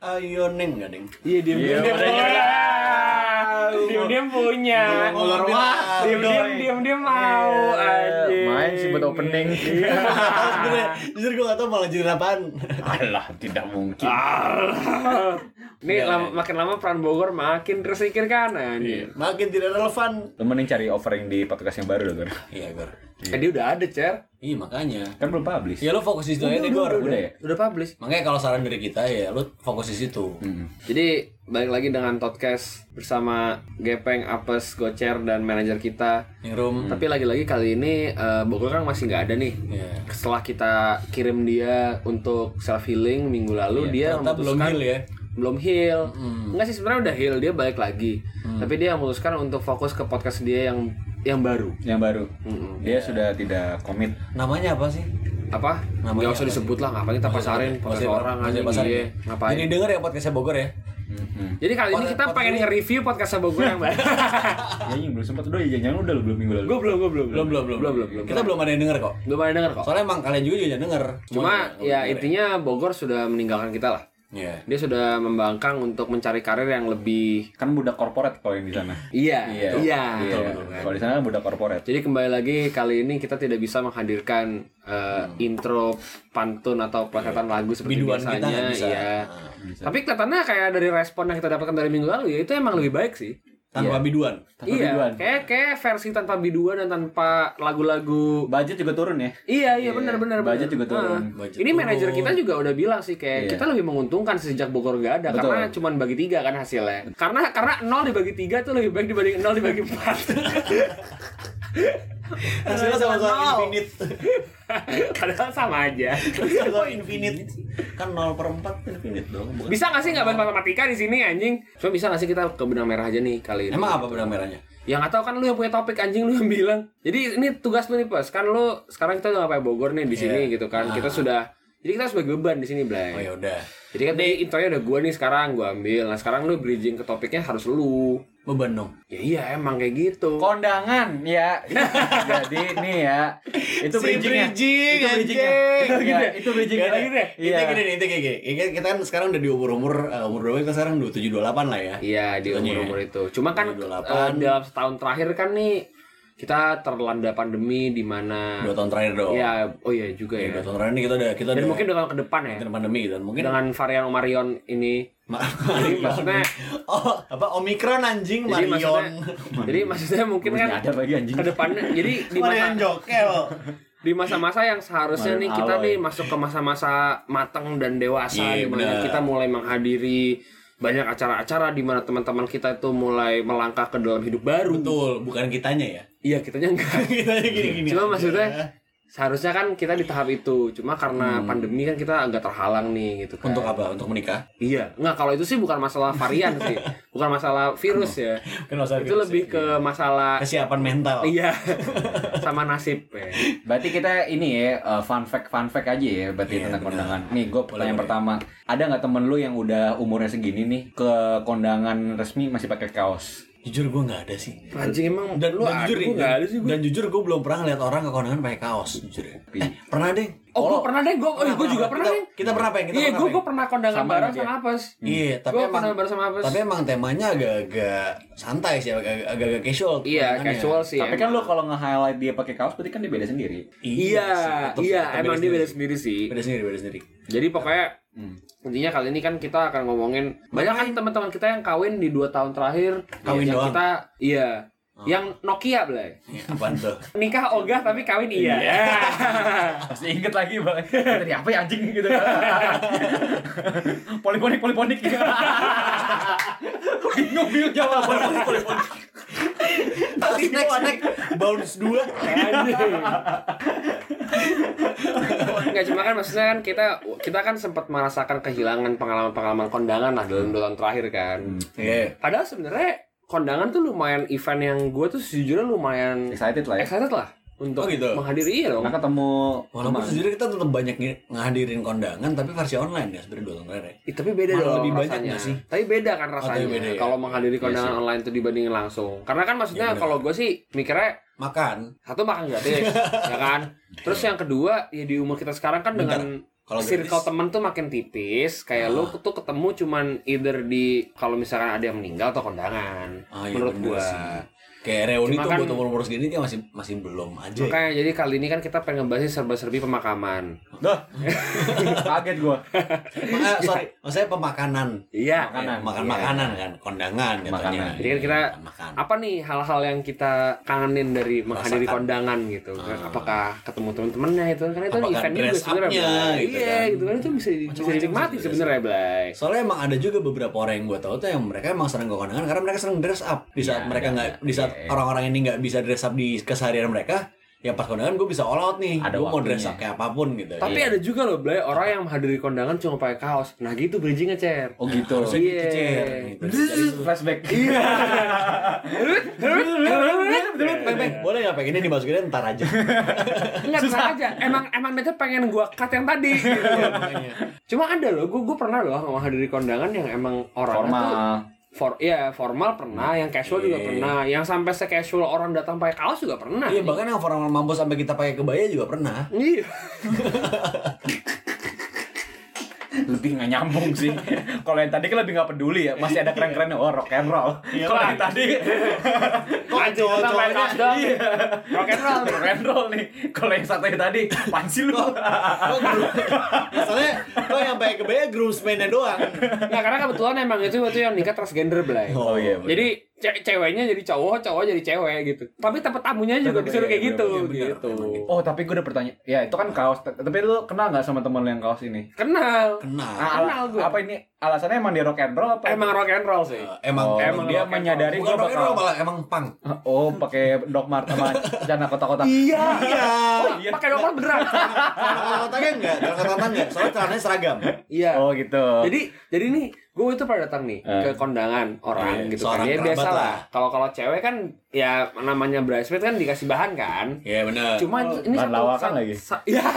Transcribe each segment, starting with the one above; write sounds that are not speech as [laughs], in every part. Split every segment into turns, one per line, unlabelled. Ayo Ah, neng nggak neng?
Iya dia
Iya,
dia
padahal-
Diam diam punya.
Ngulur wah.
Diam diam diam diam mau anjing.
Iya. Main sih buat opening.
Sebenernya, jujur gue gak tau malah jujur apaan
[laughs] Alah, tidak mungkin.
Ah. [laughs]
Iya,
Nih lama- makin lama peran Bogor makin tersingkir kan
Iya,
anjing.
Makin tidak relevan
Lu mending cari offering di podcast yang baru dong.
Iya Gor
Eh, dia udah ada, Cer.
Iya makanya
Kan belum publish.
Ya lu fokus di situ aja deh Gor
udah ya?
Udah publish.
Makanya kalau saran dari kita ya lu fokus di situ
Hmm. Jadi balik lagi dengan podcast bersama Gepeng, Apes, Gocer dan manajer kita.
Neng Rum
Hmm.
Tapi lagi-lagi kali ini eh, Bogor kan masih nggak ada nih.
Iya.
Setelah kita kirim dia untuk self healing minggu
Iya,
lalu dia
ternyata belum
Iya, memutuskan-
heal ya.
belum heal. Enggak sih sebenarnya udah heal dia balik lagi. Tapi dia memutuskan untuk fokus ke podcast dia yang yang baru.
Yang baru. Dia sudah tidak komit.
Namanya apa sih?
Apa?
Namanya
Nggak usah disebut lah ngapain kita pasarin podcast orang
aja
anjing iya. ngapain.
Jadi
Jadi,
denger ya podcastnya Bogor ya
kali ini
Pod-
kita
pod-
pengen nge-review podcast Bogor yang [laughs] baru.
Ya, yang belum sempat udah ya, jangan udah lu belum minggu lalu.
gue belum, gue belum.
Belum belum belum
belum, belum, belum.
Kita belum ada yang denger kok
Belum ada denger kok.
Soalnya emang kalian juga jangan denger
Cuma
Cuman-
ya intinya Bogor sudah meninggalkan kita lah.
Iya
Dia sudah membangkang untuk mencari karir yang lebih
Kan budak korporat kalau yang di sana.
Iya, iya.
Iya. Kalau di sana kan budak korporat.
Jadi kembali lagi kali ini kita tidak bisa menghadirkan eh, intro pantun atau pelacakan lagu
Hmm. Iya.
seperti
Biduan kita
biasanya,
nggak bisa.
iya.
Nah,
Tapi kelihatannya kayak dari respon yang kita dapatkan dari minggu lalu ya itu emang lebih baik sih.
Tanpa biduan
Tanpa
iya,
biduan.
kayak kayak versi tanpa biduan dan tanpa lagu-lagu
Budget juga turun ya.
Iya iya benar benar benar.
budget juga turun.
Ah.
Budget
Ini manajer
turun.
kita juga udah bilang sih kayak
Iya.
kita lebih menguntungkan sejak Bogor gak ada
Betul.
karena cuman bagi tiga kan hasilnya. Karena karena nol dibagi tiga tuh lebih baik dibanding nol dibagi empat.
Hasilnya sama-sama
Nol.
[laughs] infinite
[laughs] Padahal sama aja.
Sama-sama infinite Kan 0 per 4 infinite dong bukan?
Bisa gak sih gak bahas matematika di sini anjing? Cuma bisa gak sih kita ke benang merah aja nih kali ini?
Emang apa benang merahnya?
Ya gak tau kan lu yang punya topik anjing lu yang bilang Jadi ini tugas lu nih pas Kan lu sekarang kita udah ngapain Bogor nih di sini
Iya.
gitu kan Kita
Ah.
sudah Jadi kita sebagai beban di sini Blay
Oh ya udah.
Jadi kan tadi intronya udah gue nih sekarang gue ambil. Nah sekarang lu bridging ke topiknya harus lu.
Beban dong.
Ya iya emang kayak gitu.
Kondangan [laughs] ya. Jadi nih ya. Itu
Si
bridgingnya.
bridging,
itu bridgingnya.
anjing.
Gitu
Ya.
ya, itu bridgingnya.
Gak ada gitu ya?
Iya.
Kita gini nih, kita gini. Ya, kan Kita kan sekarang udah di umur-umur eh, umur berapa kita sekarang 27 28 lah ya.
Iya di
Contohnya.
umur-umur itu. Cuma kan
28.
eh, dalam setahun terakhir kan nih kita terlanda pandemi di mana.
Dua tahun terakhir dong.
Iya oh iya juga
Ya, Dua
ya.
tahun terakhir ini kita udah kita
Dan
udah
mungkin dengan ke depan ya.
dengan pandemi gitu. dan mungkin
Dengan varian Omarion ini.
Ma-
Jadi maksudnya
oh, apa Omikron anjing
jadi maksudnya
Marion.
jadi maksudnya mungkin
Masih
kan
ada bagi anjing.
ke depannya jadi di
Marion
mana
Jokel.
di masa-masa yang seharusnya
Kemarin
nih kita
awal
nih
ya.
masuk ke masa-masa matang dan dewasa
Iya,
di mana
benar.
kita mulai menghadiri banyak acara-acara di mana teman-teman kita itu mulai melangkah ke dalam hidup baru.
Betul, bukan kitanya ya.
Iya, kitanya enggak.
[laughs] kitanya gini-gini.
Cuma
aja.
maksudnya seharusnya kan kita di tahap itu. Cuma karena pandemi kan kita agak terhalang nih gitu kan.
Hmm. untuk apa? Untuk menikah?
Iya, nggak kalau itu sih bukan masalah varian
[laughs]
sih. Bukan masalah virus ya.
Kan masalah
Itu
virus
lebih
ya.
ke
[laughs]
masalah
Kesiapan mental.
iya sama nasib ya.
Berarti kita ini ya uh, fun fact fun fact aja ya berarti
Iya,
tentang
benar.
kondangan. Nih gue pertanyaan
boleh.
pertama, ada nggak temen lu yang udah umurnya segini nih ke kondangan resmi masih pakai kaos?
Jujur gue nggak ada sih.
Anjing emang
dan lu jujur
aku
nih,
nggak
dan-
ada sih gua.
dan jujur gue belum pernah lihat orang ke kondangan pakai kaos jujur ya.
Tapi-
eh, pernah deh
Oh, gue pernah deh, gue, oh, gue juga pernah
kita,
deh.
kita pernah pengen kita
Iya,
pernah
gue
Peng.
gue pernah kondangan
Sama
bareng
aja.
sama Apes.
iya tapi
Gua
emang
pernah bareng sama Apes. Iya,
tapi emang temanya agak-agak santai sih agak-agak agak-agak casual
Iya,
kondangannya.
casual sih.
Tapi kan lu kalau nge-highlight dia pakai kaos berarti kan dia beda sendiri.
Iya,
sih, tetep-
iya,
tetep
emang dia beda sendiri
sendiri.
sih.
beda sendiri beda sendiri
Jadi pokoknya
Hmm.
intinya kali ini kan kita akan ngomongin banyak kan teman-teman kita yang kawin di dua tahun terakhir.
Kawin
yang
doang. Ah.
Kita, iya, yang Nokia belai.
Iya, apaan
[laughs]
tuh
Nikah ogah tapi kawin iya.
Iya.
[laughs]
Pasti inget lagi [laughs] bang. Tadi apa ya anjing gitu. poliponik poliponik. [laughs] bingung bingung jawaban.
Terus next next bounce dua
Enggak cuma kan maksudnya kan kita kita kan sempat merasakan kehilangan pengalaman-pengalaman kondangan lah dalam dua tahun terakhir kan.
[laughs] iya
Padahal sebenarnya kondangan tuh lumayan event yang gue tuh sejujurnya lumayan
Excited lah ya.
excited lah untuk
Oh gitu?
menghadiri iya dong.
Karena ketemu
Walaupun sejujurnya kita tetap banyak nge- ngehadirin kondangan, tapi versi online ya sebenarnya dua tahun terakhir. ya.
Ih, tapi beda
Malah
dong
lebih banyak
rasanya.
nggak sih?
Tapi beda kan rasanya
tapi beda ya.
kalau menghadiri
Iya
kondangan
sih.
online tuh dibandingin langsung. Karena kan maksudnya
Iya bener.
kalau gue sih mikirnya
Makan, [laughs]
satu makan gratis, ya kan? Terus yang kedua ya di umur kita sekarang kan dengan
Kalau Ah.
circle
gratis-
temen tuh makin tipis kayak lu tuh ketemu cuman either di kalau misalkan ada yang meninggal atau kondangan
Ah, iya
menurut
bener
gua
sih. Kayak reuni
Cuma
tuh
kan-
buat umur-umur segini kayak masih masih belum aja. ya.
makanya jadi kali ini kan kita pengen ngebahas serba-serbi pemakaman
Dah. [laughs] Kaget gua.
Maka, Eh,
[laughs]
sorry, maksudnya pemakanan.
iya
Makanan.
Kayak Makan makanan kan, kondangan katanya. Iya,
Makanan.
Jadi kan kita-
makan.
apa nih hal-hal yang kita kangenin dari menghadiri
Rasakan.
kondangan gitu kan
Ah.
Apakah ketemu temen-temennya itu kan Karena itu
Apakah
eventnya juga
dress
sebenarnya
up-nya,
Blay.
gitu
Iya
kan.
gitu kan itu bisa, bisa
Macam-macam
dinikmati
sih
sebenarnya Blay
Soalnya emang ada juga beberapa orang yang gue tahu tuh yang mereka emang sering ke kondangan karena mereka sering dress up di saat
Iya,
mereka
iya,
nggak
iya.
di saat
Iya, iya.
orang-orang ini nggak bisa dress up di keseharian mereka ya pas kondangan gue bisa all out nih
Ada
gue mau
waktunya.
dress up kayak apapun gitu
Tapi ada juga loh Blay orang yang menghadiri kondangan cuma pakai kaos Nah gitu bridgingnya Cer
Oh gitu.
Harusnya
Iya.
gitu, Cer, gitu. Jadi
Zzz,
tuh-
Flashback.
Bang, Bang, boleh nggak pengen ini dimasukin ntar aja
Enggak tenang aja. Emang emang itu pengen gua cut yang tadi. gitu. Cuma ada loh, gua gua pernah loh menghadiri kondangan yang emang orang tuh
Formal.
for ya formal pernah, yang casual juga
Iya.
pernah, yang sampai se-casual orang datang pakai kaos juga pernah.
iya bahkan yang formal mampus sampai kita pakai kebaya juga pernah
Iya.
lebih nggak nyambung [laughs] sih. Kalau yang tadi kan lebih nggak peduli ya, masih ada keren-kerennya oh rock and roll. Kalau yang tadi
Anjing,
Kita
cowok-cowok
pakai kaos doang.
Iya.
Rock and roll.
rock and roll nih. Kalau yang satu tadi pansi lu.
Oh, Masalahnya kok yang pakai kebaya groomsman-nya doang.
Nah, karena kebetulan emang itu itu yang nikah transgender belai.
Oh, iya, bener.
Jadi ce- ceweknya jadi cowok, cowok jadi cewek gitu. Tapi tempat tamunya juga
Tetep,
disuruh
iya,
kayak
iya,
gitu
iya,
bener,
gitu.
emang gitu.
[laughs] Oh tapi gue udah pertanyaan. Ya itu kan kaos. T- Tapi lu kenal nggak sama temen lu yang kaos ini?
Kenal.
Kenal.
Ah, ala-
Kenal gua.
Apa ini alasannya emang dia rock and roll apa?
Emang rock and roll sih.
Eh, Emang
Oh,
emang
dia
rock and
menyadari
roll.
gua
Bukan rock and roll,
bakal-
malah emang punk.
Oh pakai Doc Mart sama jana kotak-kotak.
Iya. Iya.
Iya.
Pakai dokter beneran.
Kotak-kotaknya enggak, kotak-kotaknya enggak. Soalnya celananya seragam.
Iya.
Oh gitu.
Jadi jadi nih gue itu pada datang nih
Eh.
ke kondangan orang
Iya,
gitu kan.
seorang
Ya
kerabat
biasa
lah.
lah. Kalau kalau cewek kan ya namanya bridesmaid kan dikasih bahan kan.
Iya benar.
Cuma
Oh,
itu- ini
bahan
satu-
lawakan
sa-
lagi.
sa- [laughs] Iya.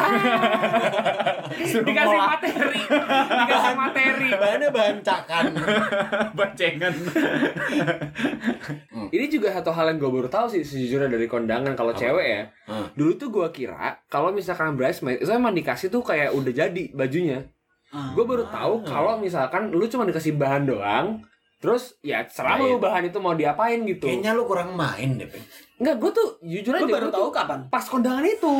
Suruh
dikasih
ngolah.
materi, dikasih materi.
bahannya bahan cakan.
Bacengan.
Ini juga satu hal yang gue baru tahu sih sejujurnya dari kondangan kalau cewek ya.
Hah.
Dulu tuh gue kira kalau misalkan bridesmaid itu emang dikasih tuh kayak udah jadi bajunya. Gue baru tahu kalau misalkan lu cuma dikasih bahan doang, terus ya serah lu bahan itu mau diapain gitu.
kayaknya lu kurang main deh. Pin.
Enggak, gue tuh jujur aja
Lu baru
gua
tahu
tuh
kapan?
pas kondangan itu.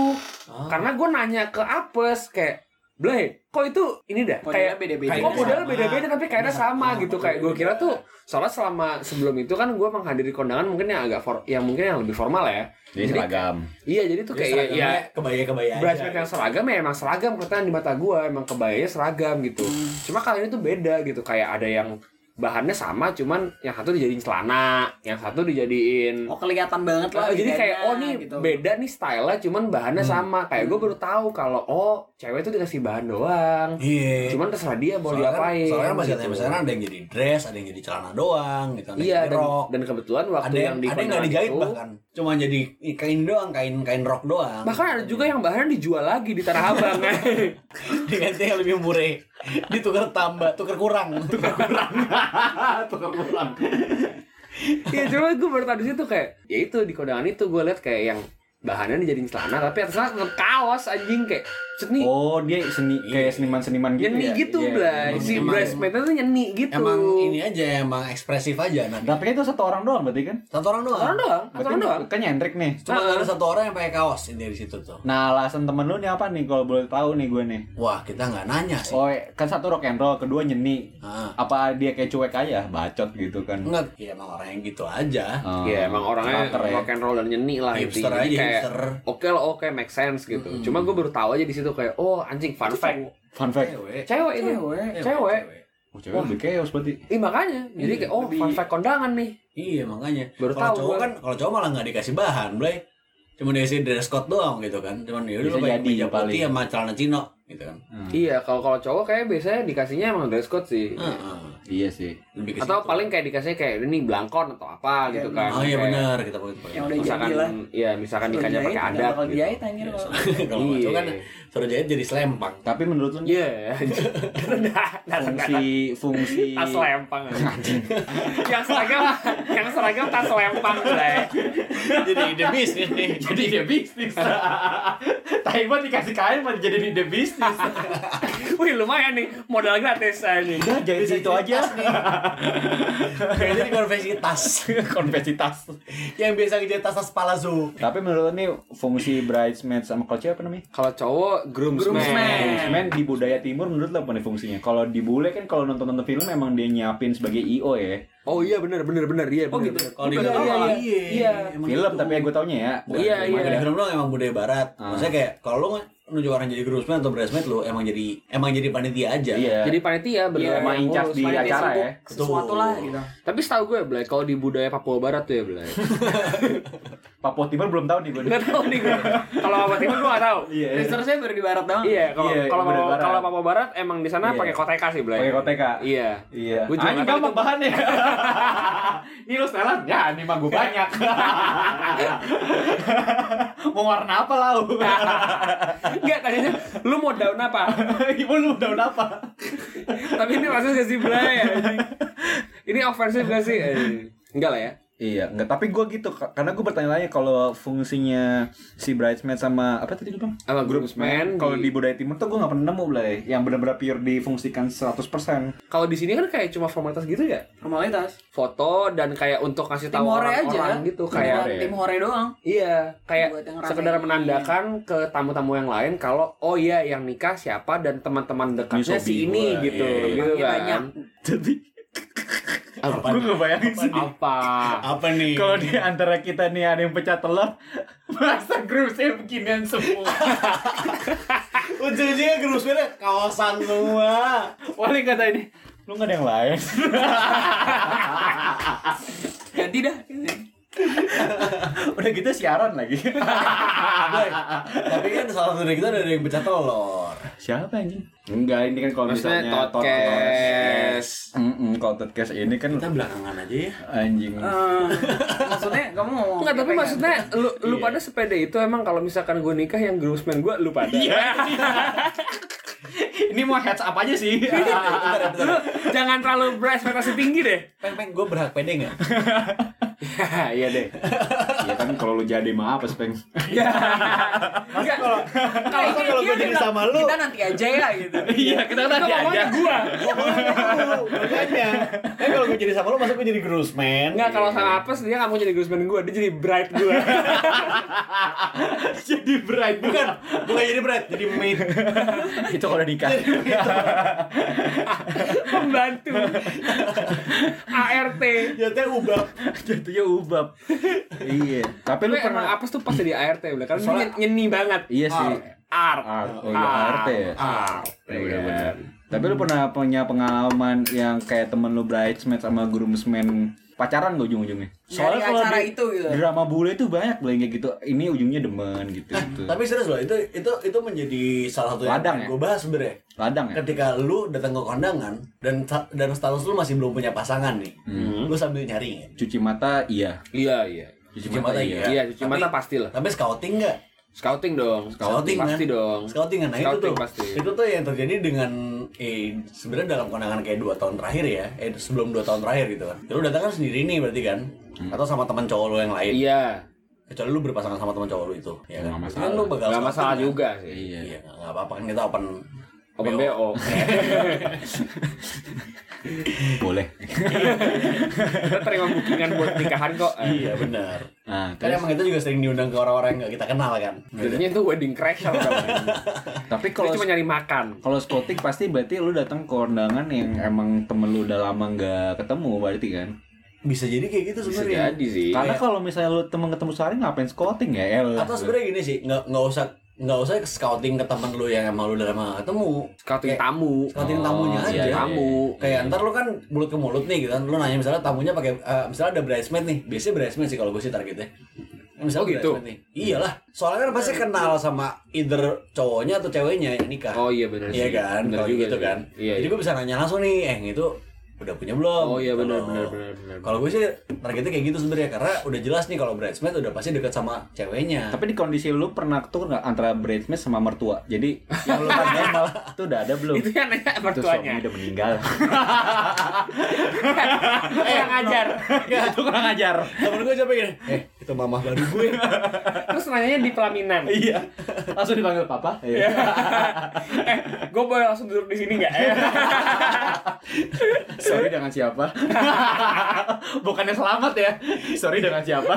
Ah.
Karena gue nanya ke Apes kayak, Blay, kok itu ini dah
Modelnya
kayak
beda-beda. ya.
kayak
Kok modelnya
sama. Iya.
beda-beda tapi kayaknya sama
Sama,
gitu
modelnya
kayak gue kira
beda.
tuh soalnya selama sebelum itu kan gue menghadiri kondangan mungkin yang agak for, yang mungkin yang lebih formal ya
Jadi seragam.
iya jadi tuh
Dia
kayak ya,
seragamnya kebaya-kebaya
ya
aja.
bridesmaid yang seragam ya emang seragam kelihatan di mata gue emang kebayanya seragam gitu
Hmm.
cuma kali ini tuh beda gitu kayak ada yang bahannya sama cuman yang satu dijadiin celana yang satu dijadiin
Oh kelihatan banget lah.
Oh, jadi kayak oh
bedanya,
nih
gitu.
beda nih style-nya cuman
Hmm.
bahannya sama. Kayak gue baru tahu kalau oh cewek tuh dikasih bahan doang.
Iya.
Cuman terserah dia mau
Soalnya kan-
diapain.
Soalnya kan masih ada
gitu.
misalnya ada yang jadi dress, ada yang jadi celana doang gitu, ada
Iya
yang jadi
dan,
rok.
dan kebetulan waktu
ada yang
yang di
ada yang nggak
kondangan
dijahit
itu,
bahkan cuma jadi kain doang kain kain rok doang
bahkan ada juga yang bahannya dijual lagi di tanah abang.
diganti yang lebih murah ditukar tambah tukar kurang tukar kurang tukar kurang
Iya cuma gue baru tahu di situ kayak ya itu di kondangan itu gue lihat kayak yang bahannya dijadiin celana tapi atasnya tetap kaos anjing kayak set nih
Oh dia seni kayak seniman-seniman gitu
nyeni
ya.
gitu
Iya.
Blay.
emang-
si
emang-
bridesmaid tuh nyeni gitu
emang ini aja emang ekspresif aja nah
Tapi itu satu orang doang berarti kan?
satu orang doang
orang doang Ah.
Berarti
orang doang
Kan nyentrik nih.
cuma ada satu orang yang pakai kaos ini dari situ tuh
Nah alasan temen lu nih apa nih kalau boleh tahu nih gue nih?
wah kita nggak nanya sih
Oh kan satu rock and roll, kedua nyeni.
Ah.
Apa dia kayak cuek aja, bacot gitu kan?
enggak ya emang orang yang gitu aja
Hmm.
Ah.
Iya emang orangnya
Karakter ya.
rock and roll dan nyeni lah
Hipster
Ah, intinya. Jadi
aja,
kayak
hipster.
oke lah oke make sense gitu. Cuma gue baru tahu aja di situ kayak oh anjing fun fact.
Fun fact.
cewek
Cewek ini.
Cewek.
Cewek.
Oh, cewek lebih chaos berarti.
Ih makanya. Jadi kayak oh fun fact kondangan nih.
Iya makanya.
Baru
kalau
tahu
cowok
gua.
kan kalau cowok malah nggak dikasih bahan, Blay. Cuma dikasih dress code doang gitu kan. Cuman ya udah
Bisa
lu pakai
jadi
meja
paling.
putih sama celana cino gitu kan.
Hmm,
Ah,
Iya kalau kalau cowok kayak biasanya dikasihnya emang dress code sih.
Heeh.
Iya sih.
Lebih ke
atau
situ.
paling kayak dikasih kayak ini belangkon atau apa gitu kan
Oh gitu. iya
Kayak-
benar kita pakai
Yang udah
misalkan
jadi lah.
ya misalkan nikahnya pakai
ada
adat
bakal
gitu.
dijahit anjir kalau-
Iya, [laughs] Kalau ngaco kan
Iya.
suruh jahit jadi selempang.
Tapi menurut lu
Iya. Nah, datang-datang.
fungsi fungsi
[laughs] tas
[laughs]
lempang yang seragam yang seragam tas lempang Blay.
jadi ide bisnis nih.
jadi ide
[laughs]
bisnis. Tapi buat dikasih kain malah jadi ide
[laughs]
bisnis.
wih lumayan nih modal gratis ah, ini
Udah jadi itu aja.
[laughs] Jadi konversi tas.
[laughs] Konversitas.
Yang biasa ngejahit tas-tas palazzo.
Tapi menurut lu nih fungsi bridesmaid sama kalau cewek apa namanya?
kalau cowok groomsman,
Groomsman.
Groomsman di budaya timur menurut lo apa nih fungsinya? Kalau di bule kan kalau nonton-nonton film emang dia nyiapin sebagai IO ya.
oh iya bener bener bener iya
Oh,
bener,
gitu.
bener.
Kalau di
Iya,
Indonesia
iya,
malah
iya.
emang
film
gitu.
tapi yang gue taunya ya.
Bukan,
Iya,
emang
iya.
Di film lo emang budaya barat.
Ah.
Maksudnya kayak kalau lo menuju orang jadi groomsman atau bridesmaid lo emang jadi emang jadi panitia aja.
Iya.
jadi panitia bener
Iya,
emang incas di
Panitia
acara
sibuk
ya.
Sesuatu lah gitu.
tapi setahu gue Blay, kalau di budaya Papua Barat tuh ya
[laughs]
Blay.
Papua Timur belum tahu nih gue.
nggak tahu nih gue kalau Papua Timur gue nggak tahu
Iya.
Resource-nya baru di barat doang.
iya kalau
Iya,
kalau
budaya Barat.
kalau Papua Barat emang di sana
Iya.
pakai koteka sih Blay.
Pakai koteka.
iya
Iya.
Gua juga
Ah, ini
nggak
gampang bahannya. [laughs] ini lu setelan? Ya, ini mah gue
[laughs]
banyak. Mau warna apa
[laughs]
lau?
Enggak, tanyanya lu mau down apa? [laughs]
Ibu lu daun apa?
Tapi ini maksudnya gak sih Blay anjing? Ini offensif gak sih? Anjing. Enggak lah ya
Iya, enggak. Tapi gue gitu, ka- karena gue bertanya-tanya kalau fungsinya si bridesmaid sama apa tadi lu bang?
Sama groomsman
Kalau
di-
di budaya timur tuh gue nggak pernah nemu lah, yang benar-benar pure difungsikan 100%
Kalau di sini kan kayak cuma formalitas gitu ya
Formalitas.
Foto dan kayak untuk ngasih tahu
Timore aja.
orang-orang gitu Kayak
Timore. ya.
tim hore doang.
Iya, kayak
Buat yang ramein.
sekedar menandakan ke tamu-tamu yang lain kalau oh iya yang nikah siapa dan teman-teman dekatnya
Ini
si
sobi
ini
gua,
gitu,
iya, iya.
gitu
Iya,
kan.
banyak.
[laughs] Jadi
Apa?
gue ngebayangin sih
Apa?
Apa nih?
kalau di antara kita nih ada yang pecah telur, [laughs] masa groomsnya beginian semua.
ujung-ujungnya groomsmannya kawasan semua.
Paling kata ini, lu nggak ada yang lain.
Ganti
[laughs]
dah.
[laughs] Udah gitu siaran [laughs] lagi.
Boy, tapi kan salah satu dari kita ada yang pecah telur.
Siapa anjing? Enggak, ini kan kalau
Maksudnya
misalnya
podcast.
Mm kalau podcast ini kan
Kita belakangan aja ya.
anjing.
Eh, maksudnya kamu mau ngomong
Enggak, tapi
apa ya?
maksudnya lu, lu
Iya.
pada sepeda itu emang kalau misalkan gue nikah yang groomsman gue lu pada.
Iya.
ini mau heads up aja sih.
Bentar, bentar, bentar.
[laughs] lu jangan terlalu berekspektasi tinggi
[laughs]
deh.
Peng, peng, gue berhak pede [laughs] nggak?
Iya deh.
ya kan kalau lu jadi mah apa Speng?
Iya.
Enggak, kalau
Kalau
Masa kalau gua jadi sama lu?
Kita nanti aja ya [laughs] gitu.
Iya, kita kan ngomongnya gua.
makanya. Kan kalau gue jadi sama lo, masa gue jadi groomsman?
Enggak, kalau sama apes dia nggak mau jadi groomsman gue, dia jadi bride gue.
jadi bride
Bukan, bukan jadi berat, jadi maid.
Itu kalau nikah.
Pembantu. ART.
Jatuhnya Ya, ubah.
Jatuhnya ubab. iya. Tapi
Tapi
lu
emang
pernah
apes tuh pas jadi ART udah karena dia nyen- nyeni banget.
Iya sih.
Art.
Art. Oh iya, ART ya.
Ah,
Iya. Tapi lu pernah punya pengalaman yang kayak temen lu bridesmaid sama groomsman pacaran gak ujung-ujungnya?
Dari acara
di
itu gitu.
drama bule itu banyak lah yang kayak gitu. Ini ujungnya demen
[laughs]
gitu gitu.
Tapi serius loh, itu itu itu menjadi salah satu
Ladang ya?
gue bahas sebenernya.
Ladang ya.
Ketika lu datang ke kondangan dan dan status lu masih belum punya pasangan nih, lu sambil nyari
Cuci mata iya.
Iya, iya.
cuci
mata,
iya.
Iya, cuci mata pasti lah.
Tapi scouting nggak?
Scouting dong,
Scouting,
scouting, pasti
kan?
dong.
Scouting kan? Nah, itu
Scouting
tuh.
pasti.
Itu tuh yang terjadi dengan eh sebenarnya dalam kondangan kayak dua tahun terakhir ya, eh sebelum dua tahun terakhir gitu kan. Ya, Lu datang kan sendiri nih berarti kan? Atau sama teman cowok lu yang lain.
Hmm. Iya,
Kecuali lu berpasangan sama teman cowok lu itu, ya kan? Berarti
Nggak masalah.
Kan lu bakal
nggak
scouting,
masalah
kan?
juga sih.
Iya.
Iya, nggak apa-apa kan kita open
Open BO.
Iya, Boleh.
[laughs] Kita terima bookingan buat nikahan kok.
[laughs] Iya,
[laughs]
benar.
Nah,
Kan emang kita juga sering diundang ke orang-orang yang nggak kita kenal kan.
Jadinya itu wedding crasher [laughs] dong.
tapi
Dia
kalau
cuma nyari makan.
Kalau scouting pasti berarti lu datang ke kondangan yang emang temen lu udah lama nggak ketemu berarti kan?
Bisa jadi kayak gitu
Bisa
sebenarnya.
jadi sih.
Karena kalau misalnya lu temen ketemu sehari ngapain scouting ya? El.
Atau sebenarnya gini sih, nggak nggak usah nggak usah scouting ke teman lu yang emang lu udah lama nggak ketemu.
Scouting
Kayak-
tamu.
Scouting tamunya
Oh,
aja.
iya, iya.
Tamu.
Kayak ntar lu kan mulut ke mulut nih gitu kan. Lu nanya misalnya tamunya pakai eh, misalnya ada bridesmaid nih. Biasanya bridesmaid sih kalau gue sih targetnya. Misalnya
Oh, gitu? Iya,
bridesmaid Nih. Iyalah. Soalnya kan pasti kenal sama either cowoknya atau ceweknya yang nikah.
Oh iya benar sih.
Iya kan,
Benar
kalau
juga
gitu
sih.
kan.
Iya.
Jadi
iya.
gue bisa nanya langsung nih, eh itu udah punya belum
Oh, iya, benar,
Kalau-
benar, benar, benar.
kalau gue sih targetnya kayak gitu sebenarnya karena udah jelas nih kalau bridesmaid udah pasti deket sama ceweknya
Tapi di kondisi lu pernah tuh nggak antara bridesmaid sama mertua? [laughs] Jadi yang lu tanyain malah tuh udah ada belum?
Itu yang nanya
Tuh suami
mertuanya.
udah meninggal.
Kurang ajar.
[laughs] itu kurang ajar.
temen gue siapa gini eh itu mama baru
[laughs]
gue
Terus nanyanya di pelaminan.
Iya. Langsung dipanggil papa. Iya.
eh, gue boleh langsung duduk di sini nggak? Eh,
Iya, Sorry dengan siapa? [laughs] Bukannya selamat ya. Sorry dengan siapa?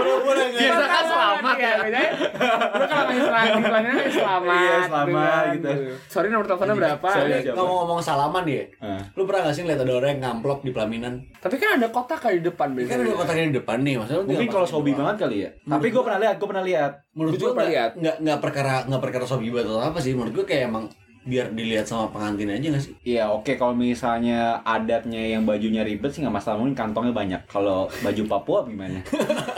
Lu- lu udah nggak-
Iya.
Biasa kan selamat ya.
bedanya, Lu gitu kalau nanya selamat, di pelaminan nanya selamat.
Iya, selamat,
dengan-
gitu.
Sorry nomor teleponnya berapa?
Sorry.
Ini ngomong-ngomong salaman ya
Ah.
lu pernah gak sih ngeliat ada orang yang ngamplop di pelaminan
Tapi kan ada kotak kali di depan
ini kan
biasanya.
ada kotaknya di depan nih maksudnya lu
Mungkin
tinggal
kalau
masukin
sobi
doang.
banget kali ya. Tapi gue pernah lihat, gue pernah lihat.
menurut
Gue
gue
juga lihat.
nggak nggak nggak perkara nggak perkara sobi banget atau apa sih menurut gue kayak emang biar dilihat sama pengantin aja gak sih
Iya oke kalau misalnya adatnya yang bajunya ribet sih nggak masalah mungkin kantongnya banyak. Kalau baju Papua [laughs] gimana?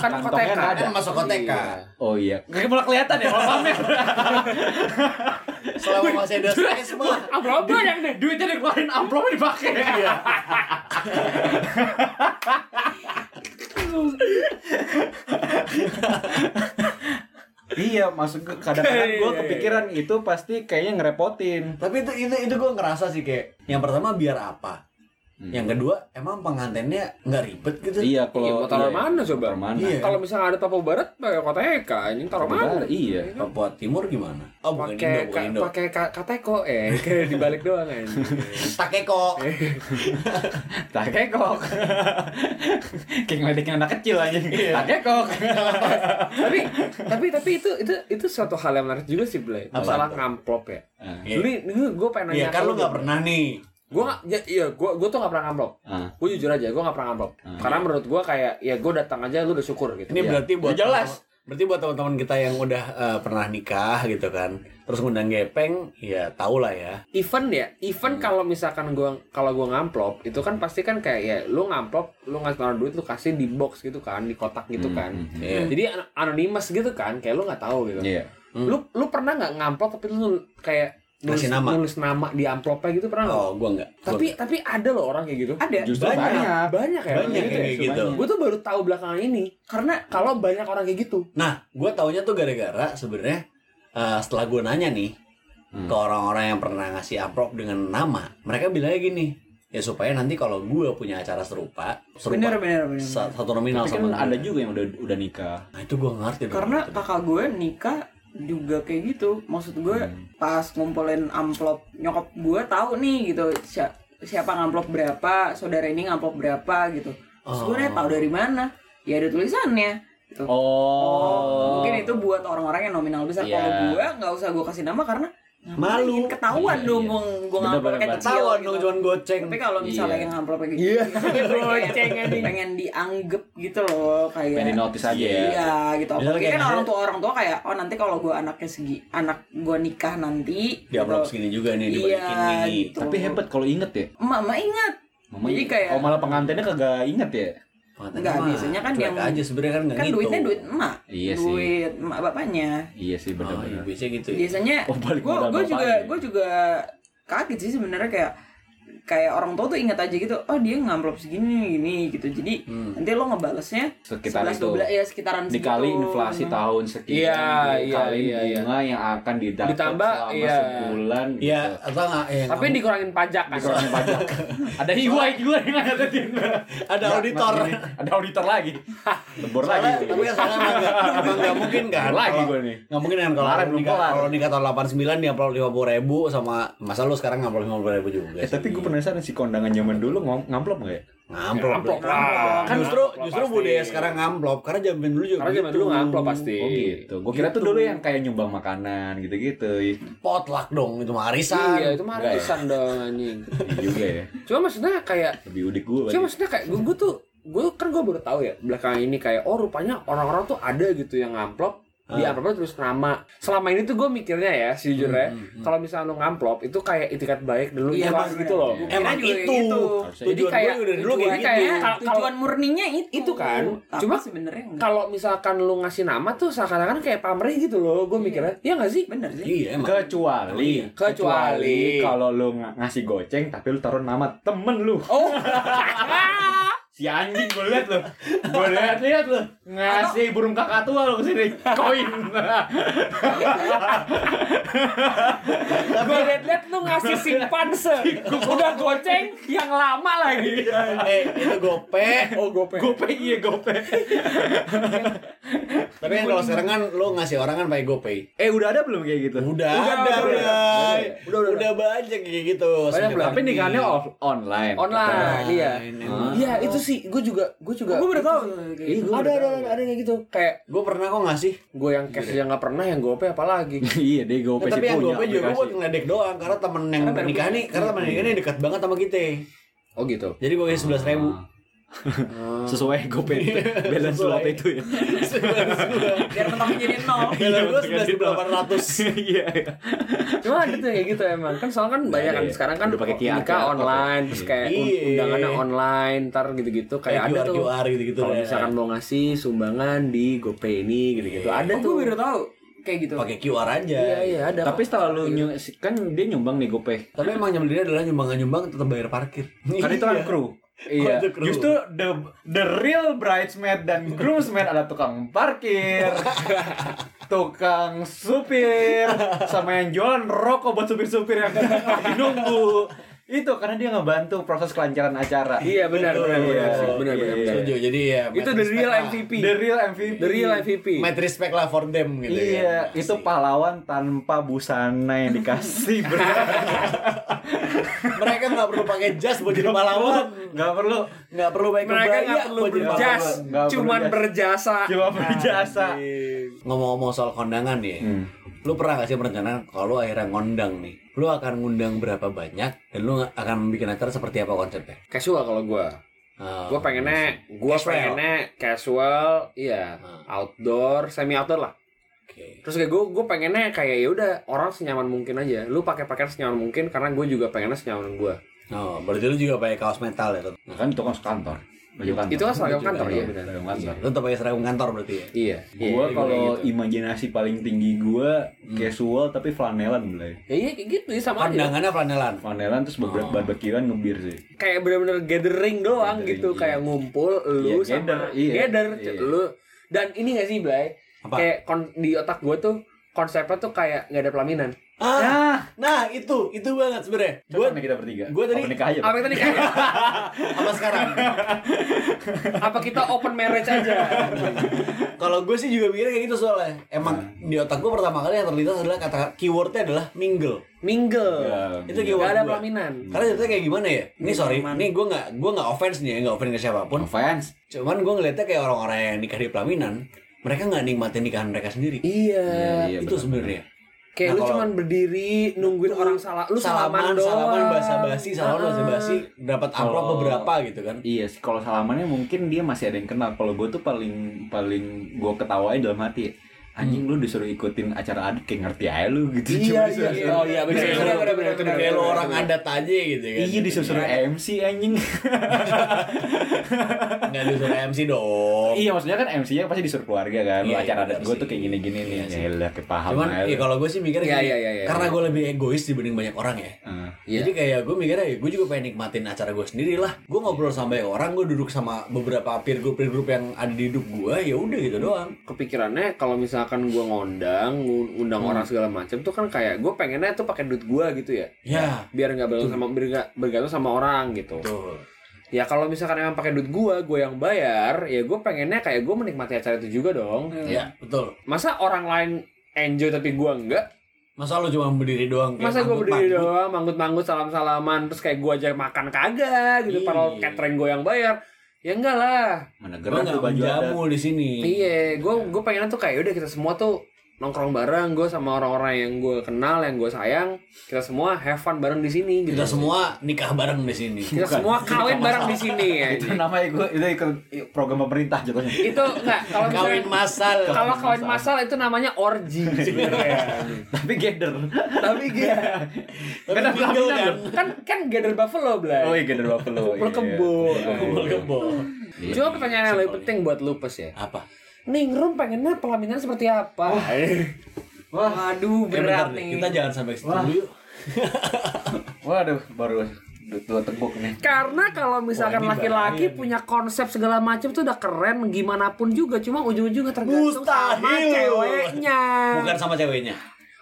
Kan
Kantongnya
kotekan.
nggak ada.
kan masuk koteka
Oh iya, kayak malah kelihatan ya kalau pamer.
selama masih ada space mah
Ah, berapa yang deh?
Duitnya dikeluarin amplopnya dipakai. Iya. iya, maksud gue kadang-kadang gue kepikiran itu pasti kayaknya ngerepotin.
tapi itu itu itu gue ngerasa sih kayak yang pertama biar apa yang kedua emang pengantinnya nggak ribet gitu
Iya,
Iya, mau
kalau
taruh
iya.
mana coba?
Taruh mana?
Iya.
Kalau misalnya ada Papua Barat, pakai koteka. Ini taruh mana?
Iya.
Papua Timur gimana? Oh bukan Indo,
pakai
bukan
ka-
Indo.
pakai ka- kateko eh kayak dibalik doang kan
[laughs]
Takeko.
Tak kekok. [laughs] Kayak ngeledekin anak kecil aja. Tak kekok.
tapi tapi tapi itu itu itu suatu hal yang menarik juga sih Blay
Apa?
masalah ngamplop ya
[laughs] Ah,
Iya.
ini gue pengen
Iya
nanya gitu.
kan lu nggak pernah nih.
gue nggak ya, iya gue gue tuh nggak pernah ngamplop
ah.
gue jujur aja gue nggak pernah ngamplop karena menurut gue kayak ya gue datang aja lu udah syukur
Hmm.
gitu
Ini
Iya.
berarti buat
Udah jelas.
Berarti buat teman-teman kita yang udah eh, pernah nikah gitu kan, terus ngundang gepeng, ya tau lah ya.
event ya
Hmm.
event kalau misalkan gua kalau gua ngamplop itu kan pasti kan kayak ya lu ngamplop lu ngasih naruh duit lu kasih di box gitu kan di kotak gitu kan
hmm,
hmm.
jadi an- anonymous gitu kan kayak lu nggak tahu gitu
Iya.
lu lu pernah nggak ngamplop tapi lu kayak
Ngasih
nulis
nama.
nulis nama di amplopnya gitu pernah nggak
Oh, gua nggak.
tapi tapi ada loh orang kayak gitu
Ada
Justru
Banyak.
Iya.
banyak.
banyak ya
banyak yang kayak gitu.
gue tuh baru tahu belakangan ini
karena
kalau banyak orang kayak gitu
Nah, gua taunya tuh gara-gara sebenarnya eh, setelah gua nanya nih ke orang-orang yang pernah ngasih amplop dengan nama, mereka bilangnya gini, ya supaya nanti kalau gua punya acara serupa,
bener
serupa
bener bener.
sa- satu nominal
Tapi kan
sama
ada
gua.
juga yang udah udah nikah.
Nah, itu gua ngerti. dong.
Karena
Gitu.
kakak gue nikah juga kayak gitu. Maksud gue
Hmm.
pas ngumpulin amplop nyokap gue tahu nih gitu si- siapa ngamplop berapa, saudara ini ngamplop berapa gitu. Terus
Oh.
gue nanya, tahu dari mana? Ya ada tulisannya. Gitu.
Oh.
mungkin itu buat orang-orang yang nominal besar.
Iya.
Kalau gue nggak usah gue kasih nama karena
Malu.
ngapain? ketahuan
Iya,
dong
iya.
gue gue
Bener,
ngamplop
bener,
kayak
bener.
kecil.
Ketahuan
gitu.
dong cuman goceng.
Tapi kalau misalnya
Iya.
yang ngamplop kayak gitu,
[laughs]
Goceng,
pengen,
anjing.
pengen dianggap gitu loh kayak
Pengen notice aja ya.
Iya gitu.
Misalnya
Apalagi
kayak
kan
ngasih-
orang tua orang tua kayak oh nanti kalau gue anaknya segi anak gue nikah nanti. gitu.
Di amplop segini juga nih dibalikin
Iya,
nih.
gitu.
Tapi hebat kalau inget ya.
Mama ingat.
Mama
Jadi
ingat.
kayak-
Oh malah pengantinnya kagak inget ya.
Mantan
Enggak,
mah
biasanya kan
cuek
yang-
aja sebenarnya kan enggak
Kan duitnya duit emak.
gitu. Iya sih.
duit emak bapaknya.
Iya sih
Oh, iya,
benar-benar.
biasanya gitu ya.
Biasanya
Oh, balik
gue
modal
gue
bapaknya.
juga gue juga kaget sih sebenarnya kayak kayak orang tua tuh ingat aja gitu oh dia ngamplop segini gini gitu jadi nanti lo ngebalesnya
Sekitar
11,
itu.
12, ya sekitaran
Hmm. Dikali
segitu. Nah,
inflasi tahun sekian,
Iya, iya,
dikali
iya, iya.
bunga yang akan didapat
Ditambah,
selama
iya.
sebulan.
Iya,
gitu.
atau enggak ya,
tapi
kamu-
dikurangin pajak kan
Dikurangin pajak. ada hiwai juga yang ada di
ada auditor.
Ada auditor lagi. Lebor lagi.
Soalnya-
gitu ya.
Tapi yang salah emang nggak- emang nggak mungkin kan.
Lagi
Kalau-
gue nih.
Nggak mungkin kan kalau
Kemarin
lu
belum
nikah,
kelar.
kalau lu nikah tahun 89 dia upload 50 ribu sama masa lu sekarang ngamplop 50 ribu juga.
Eh, tapi gue penasaran si kondangan zaman dulu ngom- ngamplop nggak ya?
ngamplop.
Ngamplop
dong.
lah.
Kan justru
Ngamplop
justru
pasti.
budaya sekarang ngamplop karena zaman dulu juga.
karena zaman
gitu.
dulu ngamplop pasti
Oh gitu. Gue kira tuh
Gitu.
dulu yang kayak nyumbang makanan gitu-gitu. Iya
Potluck dong itu mah arisan.
iya itu mah arisan dong anjing
Iya juga ya.
cuma maksudnya kayak
Lebih udik gue.
Cuma maksudnya kayak gue, tuh gue kan gue baru tahu ya belakangan ini kayak oh rupanya orang-orang tuh ada gitu yang ngamplop di amplopnya terus nama selama ini tuh gue mikirnya ya sejujurnya kalau misalnya lo ngamplop itu kayak itikat baik dulu
Iya,
ikhlas
Bang.
gitu loh
Gua kira
Emang
juga
itu.
gitu.
Harusnya
Tujuan
Jadi kayak-
gue dari dulu kayak
tujuan
gitu.
kayak-
Nah,
Kalau-
tujuan murninya itu
Itu kan.
Tapi
Cuma-
sebenarnya enggak
kalau misalkan lo ngasih nama tuh seakan-akan kayak pamrih gitu loh gue mikirnya ya nggak sih
bener sih
Iya emang.
Kecuali
Kecuali.
kecuali kalau lu ng- ngasih goceng tapi lu taruh nama temen lu.
[laughs] oh
Si anjing gue liat lu. Gue liat liat lu. Ngasih burung kakak tua lu kesini
[laughs]
koin.
gue liat-liat lu ngasih simpanse udah goceng yang lama lagi
eh itu gope.
oh gope
gope iya gope.
Tapi kan kalau sekarang kan lo ngasih orang kan pakai GoPay.
Eh udah ada belum kayak gitu?
Udah,
Udah,
ada,
udah,
udah,
udah.
udah,
Udah,
banyak kayak gitu.
Banyak belum?
Tapi nikahannya off online.
online iya
emang.
iya itu sih gue juga gue juga
Gua baru tahu.
Iya, gua ada, ada ada ada yang kayak gitu kayak
Gue pernah kok ngasih.
gue yang cash aja nggak pernah yang gope apalagi
[laughs] iya deh gope
Ya, tapi
sih
yang
punya
GoPay juga gue buat
aplikasi.
ngeledek doang karena temen yang
Karena baru
nikah nih, karena temen nikah nih dekat banget sama kita.
oh gitu
Jadi gue kasih sebelas [laughs] ribu.
Ah. [laughs] Sesuai gope itu, balance
Iya, Sesuai.
lu apa itu ya. [laughs]
biar mentok jadi nol
Kalau gue
Iya,
sebelas
gitu.
ribu delapan ratus.
Iya.
cuma ada tuh kayak gitu emang kan soalnya kan banyak kan
iya.
sekarang kan
Udah pakai QR,
nikah
apa-apa.
online terus kayak
Iya.
un- undangannya online ntar gitu-gitu kayak ada tuh
QR gitu gitu.
kalau misalkan mau ngasih sumbangan di GoPay ini gitu-gitu ada
oh, gue
tuh
baru tahu kayak gitu
pakai QR aja.
iya iya ada
Tapi setelah lu nyu- kan dia nyumbang nih gope.
Tapi emang nyembelinnya adalah nyumbang-nyumbang tetap bayar parkir.
Kan itu kan kru.
Iya. Kru.
Justru the the real bridesmaid dan groomsmaid ada tukang
[laughs]
parkir, tukang supir, sama yang jualan rokok buat supir-supir yang lagi nunggu. Itu karena dia ngebantu proses kelancaran acara.
iya benar benar
Iya,
benar
iya,
benar benar
iya.
benar.
Setuju. Jadi ya.
itu
mad
the
respect
real
lah.
MVP
The real MVP.
the real MVP
Mad respect lah for them gitu.
Iya,
kan.
itu
Pasti.
pahlawan tanpa busana yang dikasih
[laughs]
bro.
Iya.
Mereka nggak perlu pakai jas buat jadi pahlawan.
Gak perlu
Nggak perlu pakai
mereka
kebaya
nggak perlu
buat jadi
berjas
pahlawan.
Nggak perlu
cuman
jas.
berjasa
cuma berjasa
Iya.
Ngomong-ngomong soal kondangan ya. Lu pernah gak sih merencanakan kalau lu akhirnya ngondang nih? Lu akan ngundang berapa banyak dan lu akan bikin acara seperti apa konsepnya?
casual kalau gue
Ah,
gue pengennya gue
Casual.
pengennya casual iya
Hmm.
outdoor semi outdoor lah
Oke.
terus kayak gue gue pengennya kayak ya udah orang senyaman mungkin aja lu pakai pakaian senyaman mungkin karena gue juga pengennya senyaman gue
Oh, berarti lu juga pakai kaos metal ya? Tot?
Nah, kan tukang kantor. Baju kantor.
itu kan seragam kantor
kantor.
ya benar
Seragam kantor.
Lu tetap pakai seragam kantor berarti ya?
iya iya,
Gua Hmm.
iya,
kalau
kayak gitu.
imajinasi paling tinggi gua casual tapi flanelan mulai.
ya iya kayak gitu ya sama aja
Pandangannya flanelan.
Flanelan terus beberapa barbekyuan ngebir sih.
kayak bener-bener gathering doang
Gathering,
gitu
iya.
kayak ngumpul lu
Iya,
sama
gather, iya,
gather,
iya.
lu dan ini gak sih Blay
Apa?
kayak kon- di otak gue tuh konsepnya tuh kayak nggak ada pelaminan
Ah,
Nah,
nah itu, itu banget sebenarnya.
gua
Gue
kita bertiga.
gua tadi-
Apa nikah aja.
apa kita nikah
apa sekarang?
apa kita open marriage aja
Kalau gue sih juga mikirnya kayak gitu soalnya. Emang di otak gue pertama kali yang terlintas adalah kata keywordnya adalah mingle.
mingle
Ya,
Itu
nggak
keyword
ada
gue.
pelaminan
Karena ceritanya kayak gimana ya? Ini sorry, ini gue nggak gue nggak offense nih, ya, nggak offense ke siapapun.
Fans.
Cuman gue ngeliatnya kayak orang-orang yang nikah di pelaminan, mereka nggak nikmatin nikahan mereka sendiri.
iya
itu sebenarnya. Nah,
kayak lu
kalau-
cuman berdiri nungguin orang salah lu salaman, doang
salaman basa-basi, salaman basa-basi, dapat amplop
Kalau-
beberapa gitu kan.
Iya sih, kalau salamannya mungkin dia masih ada yang kenal. Kalau gue tuh paling paling gue ketawain dalam hati. Anjing lu disuruh ikutin acara adat kayak ngerti aja lu gitu.
Iya,
Cuma
iya,
disuruh-
iya. Oh, iya, bener,
Kayak
bener,
lu-
bener, bener, bener,
Kayak lu
bener,
orang
bener.
adat aja gitu kan.
Iya disuruh MC anjing.
Nggak disuruh MC dong.
Iya maksudnya kan MC-nya pasti disuruh keluarga kan. Lu
Iya,
acara
iya,
adat
benar
gue
sih.
tuh kayak gini-gini nih.
Iya sih.
Ya lah kepaham
Cuman
aja.
ya kalau gue sih mikirnya
Iya,
gini,
iya, iya, iya.
karena gue lebih egois dibanding banyak orang ya.
Ah.
Iya.
Jadi kayak gue mikirnya ya gue juga pengen nikmatin acara gue sendiri lah. Gue ngobrol sama banyak orang, gue duduk sama beberapa peer group peer group yang ada di hidup gue, ya udah gitu doang.
kepikirannya kalau misalkan gua ngondang ngu- ngundang orang segala macam tuh kan kayak gue pengennya tuh pakai duit gua gitu ya
Ya,
biar nggak bergantung sama biar nggak bergantung sama orang gitu
betul.
ya kalau misalkan emang pakai duit gua gua yang bayar ya gue pengennya kayak gue menikmati acara itu juga dong
Ya, betul.
masa orang lain enjoy tapi gua enggak
Masa lu cuma berdiri doang? kayak
masa gue
mangkut-
berdiri
mangkut?
doang manggut-manggut salam-salaman terus kayak gue aja makan kagak gitu
Iya.
padahal catering gue yang bayar ya enggak lah
Mana
Gue
gerak
nggak
tuh baju adat.
menjamu di sini.
iya gue gue pengen tuh kayak udah kita semua tuh nongkrong bareng gue sama orang-orang yang gue kenal yang gue sayang kita semua have fun bareng di sini gitu
Kita semua nikah bareng di sini.
Kita semua kawin bareng di sini ya
itu namanya gue itu ikut program pemerintah [laughs] jatuhnya
itu enggak kalau
Kawin Iya,
misalnya
masal.
kalau kawin masal itu namanya orgy
[laughs]
sebenarnya
tapi gather
tapi gitu
Tapi
Kenapa
single
bilang
Iya. kan.
kan kan gather buffalo belai
oh iya gather
Kumpul
buffalo iya.
kebo.
Kumpul kebo. iya.
Cuma pertanyaan yang lebih
Simpelnya.
penting buat lupus ya.
Apa?
Ningrum pengennya pelaminan seperti apa?
wah
Eh, iya.
Waduh,
bentar
berat
deh,
nih.
Kita jangan sampai ke situ
Wah.
dulu yuk. [laughs]
waduh baru dua tembok nih
Karena kalau misalkan
Wah, ini
laki-laki
bahaya nih.
punya konsep segala macam tuh udah keren gimana pun juga cuma ujung-ujungnya tergantung sama
Mustahil.
ceweknya.
Bukan iya, sama ceweknya.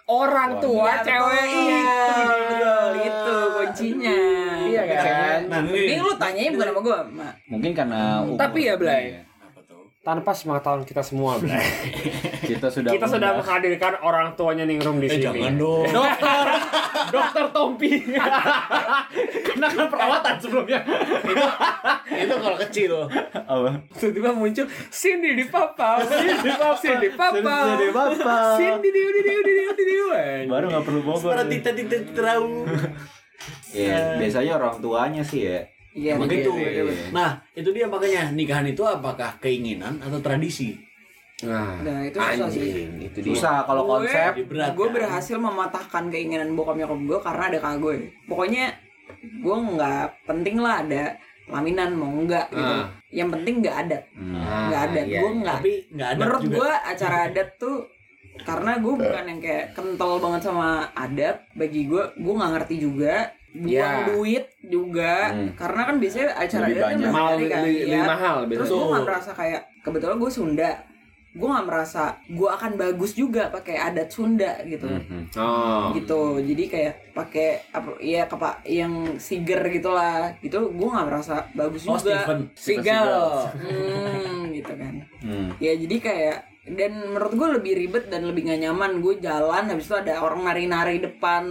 Orang tua ceweknya.
Betul, itu kuncinya.
Iya kan?
Nah,
Ini lu tanyain bukan sama gue, Mak.
mungkin karena umur.
Tapi ya, Blay.
Iya.
Apa tuh?
Tanpa sepengetahuan kita semua, Blay.
kita sudah
[laughs] kita sudah
membahas-
menghadirkan orang tuanya Ningrum di
Eh,
sini.
jangan dong.
dokter dokter Tompi [laughs] karena kan perawatan sebelumnya
Itu kalau kecil.
apa
Tiba-tiba muncul Cindy di papa, Cindy di papa, Cindy di papa,
Cindy di papa.
Cindy di di di di di di
baru nggak perlu bobot
Para tita tita terau.
Iya.
ya biasanya orang tuanya sih ya
Iya,
Emang gitu.
iya, iya.
Nah, itu dia makanya nikahan itu apakah keinginan atau tradisi?
Nah, itu susah sih.
itu
susah kalau
Iya.
konsep
Berat, kan?
gue Nah, berhasil mematahkan keinginan bokap nyokap gue karena ada kakak gue pokoknya gue nggak penting lah ada laminan mau nggak gitu
Ah.
yang penting nggak adat nggak adat
iya,
gue
iya.
nggak
Tapi nggak ada
menurut
juga.
gue acara adat tuh karena
Eh.
gue bukan yang kayak kental banget sama adat bagi gue gue nggak ngerti juga buang
Ya.
duit juga
Hmm.
karena kan biasanya acara
Lebih
adat kan
banyak.
Mahal,
berhari-hari kan,
lebih- lebih
ya.
mahal
terus
biasanya.
gue nggak
Betul.
merasa kayak kebetulan gue Sunda gue nggak merasa gue akan bagus juga pakai adat Sunda gitu
Hmm.
Oh.
gitu jadi kayak pakai apa ya kepa yang siger gitulah gitu gue nggak merasa bagus
Oh,
juga
Steven.
Sigal.
Hmm, gitu kan
Hmm.
ya jadi kayak dan menurut gue lebih ribet dan lebih gak nyaman gue jalan habis itu ada orang nari-nari depan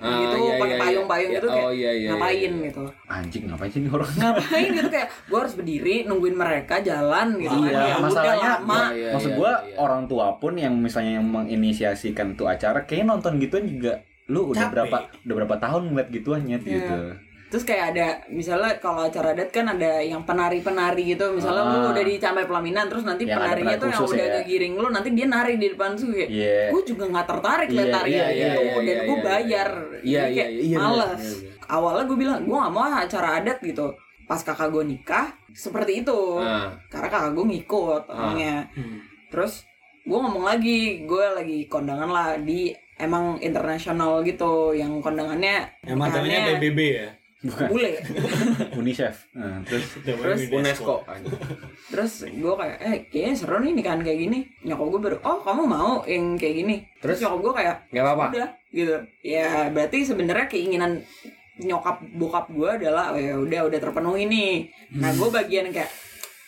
Ah,
gitu
iya,
pakai
iya,
payung-payung
iya.
gitu
Oh,
kayak
iya, iya,
ngapain
iya, iya.
gitu [laughs]
anjing ngapain sih ini orang
ngapain gitu kayak gue harus berdiri nungguin mereka jalan gitu kan
Iya,
ya udah
masalahnya
lama
Iya, iya,
maksud
iya,
gua
iya.
orang tua pun yang misalnya yang menginisiasikan tuh acara kayak nonton gituan juga lu
Capek.
udah berapa udah berapa tahun ngeliat gituan nyet
Iya.
[laughs]
gitu.
Terus kayak ada misalnya kalau acara adat kan ada yang penari-penari gitu. Misalnya
Ah.
lu udah di campai pelaminan terus nanti
Yang ada
penarinya
penari
tuh yang
khusus
udah
ya.
ngegiring lu nanti dia nari di depan tuh kayak.
Iya.
Gue juga nggak tertarik liat
Iya,
tarian
iya,
gitu
iya,
dan
iya,
gue
iya,
bayar.
iya.
Jadi
Iya,
kayak
iya, iya, bener,
males.
iya,
Awalnya gue bilang gue nggak mau ah acara adat gitu. Pas kakak gue nikah seperti itu.
Ah.
Karena kakak gue ngikut orangnya.
Hmm.
Terus gue ngomong lagi, gue lagi kondangan lah di emang internasional gitu, yang kondangannya
Emang
nikahannya
namanya PBB ya.
bule.
Unicef. Nah, terus
Terus
UNESCO.
terus gue kayak eh kayaknya seru nih nikahan kayak gini nyokap gue baru oh kamu mau yang kayak gini
Terus?
terus, nyokap gue kayak
Gak apa-apa.
udah gitu ya berarti sebenarnya keinginan nyokap bokap gue adalah "Oh, ya udah udah terpenuhi nih nah gue bagian kayak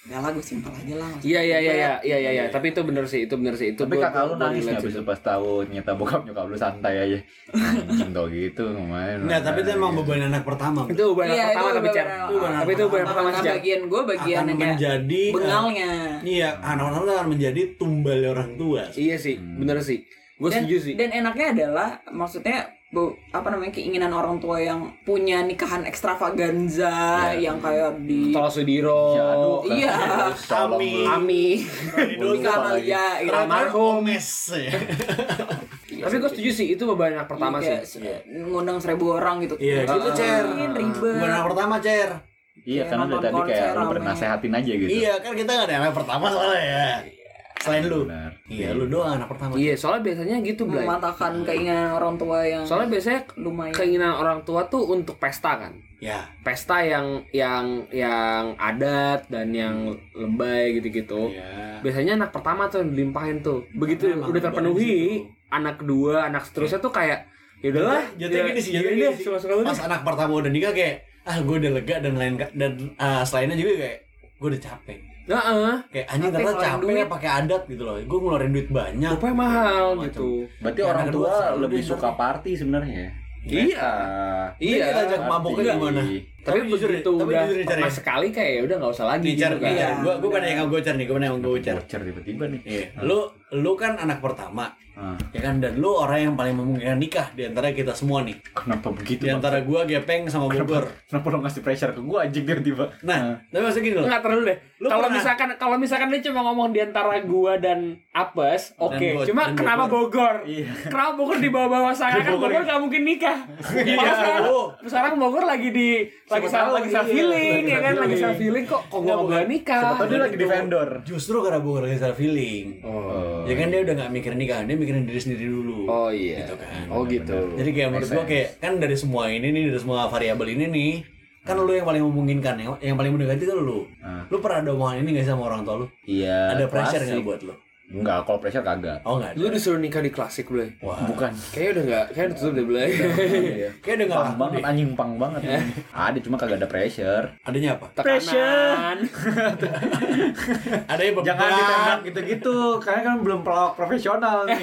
udah lah gue simpel aja lah nggak usah
Hmm. Iya iya iya
ribet."
iya iya iya, iya. Tapi itu bener sih, itu bener sih. Itu
tapi
gua-
kakak lu
gua
nangis
relate
nggak
sih.
bisa pas tahu nyata bokap nyokap lu santai aja. Anjing tau gitu kemarin. Iya.
Nah, tapi itu emang beban anak pertama.
Itu beban
Iya,
pertama
itu
tapi
beban
Cep.
yang-
Tapi itu beban
Nah,
pertama
nah,
sih, Cep.
bagian gue bagian ya,
akan
yang kayak
menjadi eh,
eh,
bengalnya
Iya, anak-anak tuh akan menjadi tumbal orang tua.
Iya sih,
Hmm.
bener sih. Gue
dan,
setuju sih.
dan enaknya adalah maksudnya bu- apa namanya keinginan orang tua yang punya nikahan ekstravaganza
Iya.
yang kayak di
Tol Sudiro.
Ya, aduh.
Iya.
Kami.
Ami.
Doni
Nikah sama dia, gitu.
Almarhum Mes.
Tapi gue setuju sih, itu beban anak pertama
Iya,
sih.
kayak se- ngundang seribu orang gitu
Iya, gitu, Cer.
Ngomongin, ribet
Bukan anak pertama, Cer.
Iya,
Kayak
karena dari
nonton
tadi kayak
konser
lu
rame.
bernasehatin aja gitu.
Iya, kan kita gak ada anak pertama soalnya ya. Selain lu.
Benar.
Iya, lu doang anak pertama.
Iya, soalnya biasanya gitu, Blay.
mematahkan keinginan orang tua yang
Soalnya biasanya
lumayan
keinginan orang tua tuh untuk pesta kan.
Ya.
Pesta yang yang yang adat dan yang lebay gitu-gitu.
Hmm. Iya.
Biasanya anak pertama tuh yang dilimpahin tuh. Begitu
Emang
udah
beban di
terpenuhi,
situ. Iya.
anak kedua, anak seterusnya tuh kayak ya udahlah.
Jatuhnya
ya-
Gitu gini sih,
ya
jatuhnya
udah,
gini sih.
suka-suka lu deh.
Pas anak pertama udah nikah kayak, ah gue udah lega dan lain dan ah, selainnya juga kayak, gue udah capek.
Heeh.
Kayak anjing
Capek
ternyata
ngeluarin
capek
duit.
ya pakai adat gitu loh. Gue ngeluarin duit banyak.
Rupanya mahal
Macam.
gitu.
Berarti
Karena
orang
kedua
tua
selalu
lebih
dia
suka
nanti.
party sebenarnya.
Iya.
Pesta.
Iya, kita ajak maboknya
Party.
gimana?
tapi,
Tapi jujur ya,
begitu
tapi
udah
jujur ya, Cer,
pernah
ya.
sekali kayak ya udah nggak usah lagi
Nih, Cer,
gitu
nih,
kan
Cer. Gua gua pada yang gocer nih, gua pada yang gocer.
Bocor tiba-tiba nih.
Iya. Lu lu kan anak pertama,
Ah,
ya kan dan lu orang yang paling memungkinkan nikah di antara kita semua nih.
kenapa begitu?
Di antara gua Gepeng sama Bogor.
Gitu, Kenapa lo ngasih pressure ke gue anjing tiba-tiba? Ah.
Nah, tapi maksudnya gini loh.
Enggak terlalu deh.
Lu
Kalau
pernah-
misalkan kalau misalkan dia cuma ngomong di antara gua dan Apes, oke.
Dan Bo-
Cuma
dan
kenapa Bogor?
Iya.
Kenapa Bogor di bawah-bawah saya kan
Bogor
Bogor nggak mungkin nikah.
Iya,
Malah sekarang,
lu.
sekarang Bogor lagi di lagi
tahu,
sama lagi
iya.
self healing
Lagi
ya kan lagi
self-healing.
self healing kok kok
Iya,
nggak boleh nikah.
Siapa tahu dia lagi di
Itu-
vendor.
gitu. Justru karena Bogor lagi salah feeling. Ya kan dia udah nggak mikirin nikah, dia mikirin diri sendiri dulu.
Oh iya.
Gitu kan.
Oh gitu.
Jadi kayak menurut gua kayak kan dari semua ini nih, dari semua variabel ini nih, kan lu yang paling memungkinkan, yang, yang paling mendekati tuh lu.
Ah.
Lu pernah ada omongan ini gak sih sama orang tua lu?
Iya.
Ada pressure
klasik.
nggak buat lu?
Enggak, kalau pressure kagak. Nah,
Oh nggak ada.
Lu disuruh nikah di klasik boleh.
Wah.
Bukan.
Kayaknya udah nggak, kayaknya udah tutup deh boleh.
Kayak udah nggak
Pang
laku
banget,
deh.
anjing pang banget. iya. [laughs] ada cuma kagak ada pressure.
Adanya apa? Iya.
Tekanan.
Adanya beban.
Jangan ditembak gitu-gitu, karena kan belum pelawak profesional nih.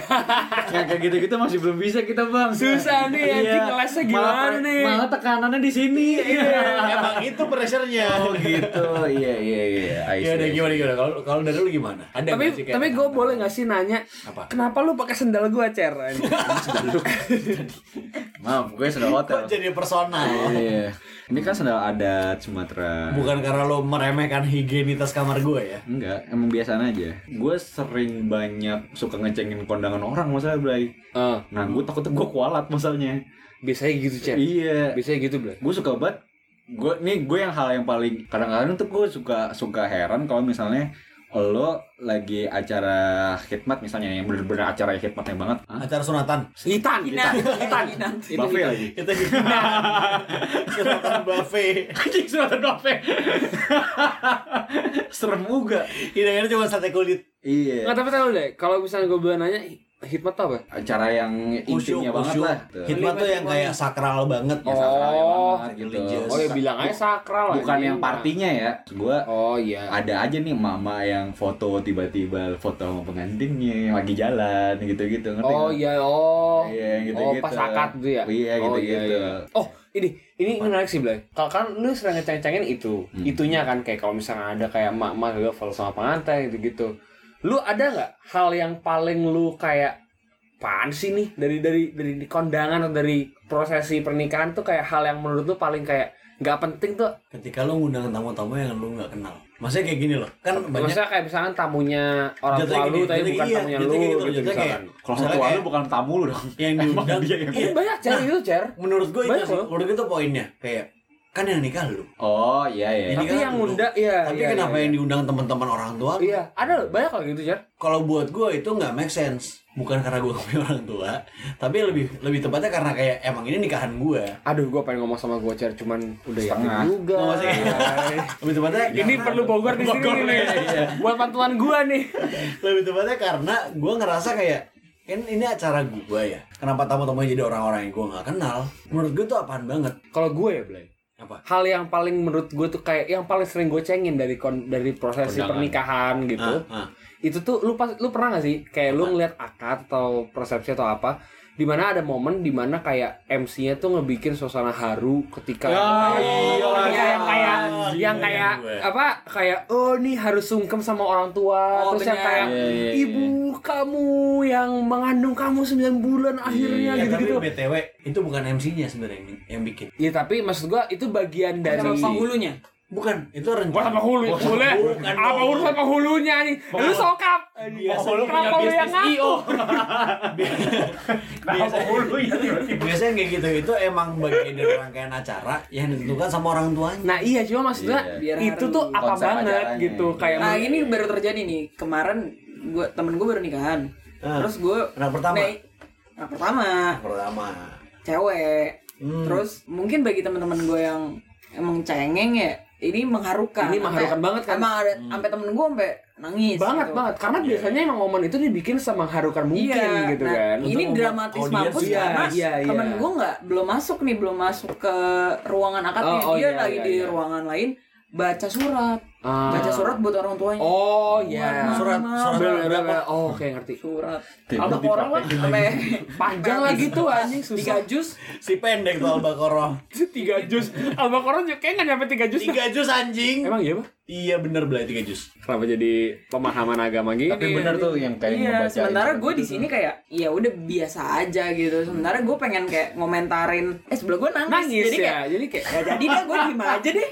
Yang kayak gitu-gitu masih belum bisa kita bang.
Susah nih,
Iya.
anjing, ngelesnya
Malah
gimana
pre-
nih?
Malah tekanannya di sini. iya.
Emang itu pressure-nya.
Oh gitu, iya iya iya. I
Iya udah
see, I see.
gimana gimana kalau kalau dari lu gimana? Ada
tapi
nggak sih kayak gitu.
tapi gue boleh gak sih nanya
Apa?
kenapa lu pakai sendal gue
[laughs]
cer
Maaf, gue sudah hotel.
Kok jadi personal?
Iya. Ini kan sandal adat Sumatera.
Bukan karena lu meremehkan higienitas kamar gue ya.
Enggak, emang biasaan aja. Gue sering banyak suka ngecengin kondangan orang masalah, Blay.
Eh,
Nah, gue takutnya gue kualat masalahnya.
biasanya gitu cer
Iya.
biasanya gitu bro
Gue suka banget gue nih gue yang hal yang paling kadang-kadang tuh gue suka suka heran kalau misalnya lo lagi acara khidmat misalnya yang bener-bener acara khidmatnya banget Hah?
Acara sunatan.
hitan hitan hitan Itu
Buffet
hitan.
lagi
Kita gitu. sunatan buffet.
Anjing sunatan dope. Serem juga.
Hidangannya kan cuma sate kulit.
iya
nggak tapi tahu deh kalau misalnya gue boleh nanya hikmat tuh apa
acara yang
Khusyuk,
intimnya banget
khusyuk.
lah
Hitman tuh yang kayak sakral banget.
Yang
Oh.
sakral banget gitu.
religious.
oh ya bilang aja sakral
bukan
anjing.
yang partinya ya gue
oh iya
ada aja nih mama yang foto tiba-tiba foto sama pengantinnya yang lagi jalan gitu-gitu ngerti
oh
nggak?
iya oh
Iya, yang
oh
gitu-gitu.
pas akad tuh ya
Iya,
oh,
gitu-gitu.
oh ini ini menarik sih Blay. Kalau kan lu sering ngeceng-cengin itu,
Hmm.
itunya kan kayak kalau misalnya ada kayak emak-emak gitu follow sama pengantin gitu-gitu. Lu ada nggak hal yang paling lu kayak apaan sih nih dari dari dari di kondangan atau dari prosesi pernikahan tuh kayak hal yang menurut lu paling kayak nggak penting tuh
Ketika lu ngundang tamu-tamu yang lu nggak kenal. Maksudnya kayak gini loh. Kan banyak
maksudnya kayak misalkan tamunya orang
Jatuhnya
tua lu
gini,
tapi
jatuhnya
bukan
iya,
tamunya
jatuhnya
lu
gitu loh,
gitu
jatuhnya
misalkan
kayak-
kalau
Misalnya
tua lu
kayak-
bukan tamu lu dong
yang diundang.
[laughs]
Iya.
banyak cari itu cer
Menurut gue itu
Banyak
sih.
loh.
Menurut gue itu poinnya. Kayak kan yang nikah lu.
oh iya iya
Ini
tapi
kan
yang
lu.
ngundang iya
Tapi
iya,
kenapa
iya,
yang diundang teman-teman orang tua?
iya ada loh, banyak loh gitu cer
Kalau buat gue itu nggak make sense. Bukan karena gue gak [laughs] punya orang tua, tapi lebih lebih tepatnya karena kayak emang ini nikahan gue.
Aduh, gue pengen ngomong sama gue cer, cuman udah yakin
Setengah.
juga.
Nggak maksudnya- lebih tepatnya
Ini
karena- iya,
perlu Bogor iya. di sini nih. Buat pantulan gue nih.
lebih tepatnya karena gue ngerasa kayak kan ini acara gue ya. Kenapa tamu-tamunya jadi orang-orang yang gue nggak kenal? Menurut gue tuh apaan banget.
Kalau gue ya, Blay.
Apa?
Hal yang paling menurut gue tuh kayak yang paling sering gue cengin dari kon- dari prosesi
Kondangan.
pernikahan gitu.
Ah, ah.
Itu tuh lu pas lu pernah gak sih kayak lu ngeliat akad atau persepsi atau apa dimana ada momen dimana kayak MC-nya tuh ngebikin suasana haru ketika
Ya, iya
Oh,
lagi.
iya, yang kayak
Ah,
yang
gila
kayak
gue.
apa kayak oh nih harus sungkem sama orang tua
Oh,
terus yang
bener.
kayak
Iya, iya, iya.
ibu kamu yang mengandung kamu 9 bulan akhirnya
Ya, tapi
gitu-gitu.
BTW itu bukan MC-nya sebenarnya yang, yang bikin.
Iya tapi maksud gua itu bagian dari
Sama penghulunya.
Bukan, itu rencana.
hulu? Boleh.
Bukan dong. Iya,
sama hulunya nih? Lu sokap.
Oh, lu punya
ya?
bisnis IO. Kenapa mulu ya tiba-tiba?
Biasanya kayak gitu itu emang bagian dari rangkaian acara yang ditentukan sama orang tuanya.
Nah iya cuma maksudnya
Iya.
Biar
itu
haru.
tuh apa
Konsep
banget
acaranya.
gitu kayak
Nah ini baru terjadi nih kemarin gue temen gue baru nikahan
Ah.
terus gue
Anak pertama?
anak pertama
Pertama.
cewek
Hmm.
terus mungkin bagi teman-teman gue yang emang cengeng ya ini mengharukan
Ini mengharukan
Sampai-
banget kan?
emang ada
Hmm.
sampai temen gue sampai nangis
banget
gitu.
banget
Iya.
karena biasanya emang momen itu dibikin semengharukan mungkin
Iya,
gitu
nah,
kan.
Ini
Untuk
dramatis
audiens
mampus
juga.
karena
Iya, iya.
temen gue nggak belum masuk nih, belum masuk ke ruangan akadnya.
Oh, oh,
Dia
iya,
lagi
iya,
di
iya.
ruangan lain baca surat.
Ah.
baca surat buat orang tuanya
Oh ya.
Surat- surat
Bener, bener,
berapa?
bener. Oh, oke ngerti.
surat
Kayak
Apa
buat
orang lah
dipraktekin
Panjang
Nah,
lagi
gitu.
tuh anjing susah. Tiga jus,
Si pendek tuh Albakoro.
[laughs] tiga jus. Albakoran juga kayaknya nggak nyampe tiga jus.
Tiga jus anjing.
Emang iya pak?
Iya bener belai tiga jus.
Kenapa jadi pemahaman agama gini?
Tapi bener tuh yang kayak
Iya,
ngebacain gitu.
sementara
surat
gue di
gitu.
itu.
sini kayak ya udah biasa aja gitu. Sementara gue pengen kayak ngomentarin, eh sebelah gue nangis,
Nangis
jadi
ya,
kayak
jadi kayak
ya jadi deh gue diem aja deh.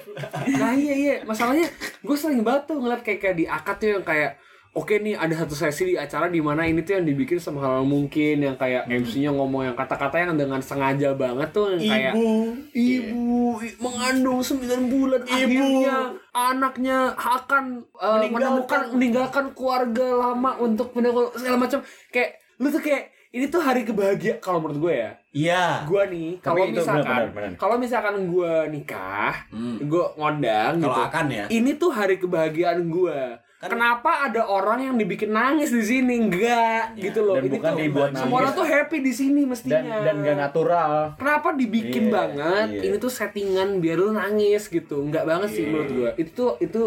nah iya iya masalahnya gue sering banget tuh ngeliat kayak kayak di akad tuh yang kayak Oke nih ada satu sesi di acara di mana ini tuh yang dibikin semahal mungkin yang kayak MC-nya ngomong yang kata-kata yang dengan sengaja banget tuh yang kayak Iya.
Ibu,
ibu i- mengandung 9 bulan akhirnya anaknya akan uh, menemukan meninggalkan keluarga lama untuk meninggalkan segala macam kayak lu tuh kayak ini tuh hari kebahagiaan kalau menurut gue ya
Iya.
gue nih
Tapi
kalau
itu
misalkan
benar, benar, benar.
kalau misalkan gue nikah
Hmm.
gue ngondang
Kalau
gitu
akan ya.
ini tuh hari kebahagiaan gue
Kan-
kenapa ada orang yang dibikin nangis di sini enggak gitu
Iya.
loh
Dan
ini
bukan
tuh
dibuat
semua
nangis.
orang tuh happy di sini mestinya
dan dan gak natural
kenapa dibikin
Iya,
banget
iya.
ini tuh settingan biar lu nangis gitu nggak banget sih menurut gue itu itu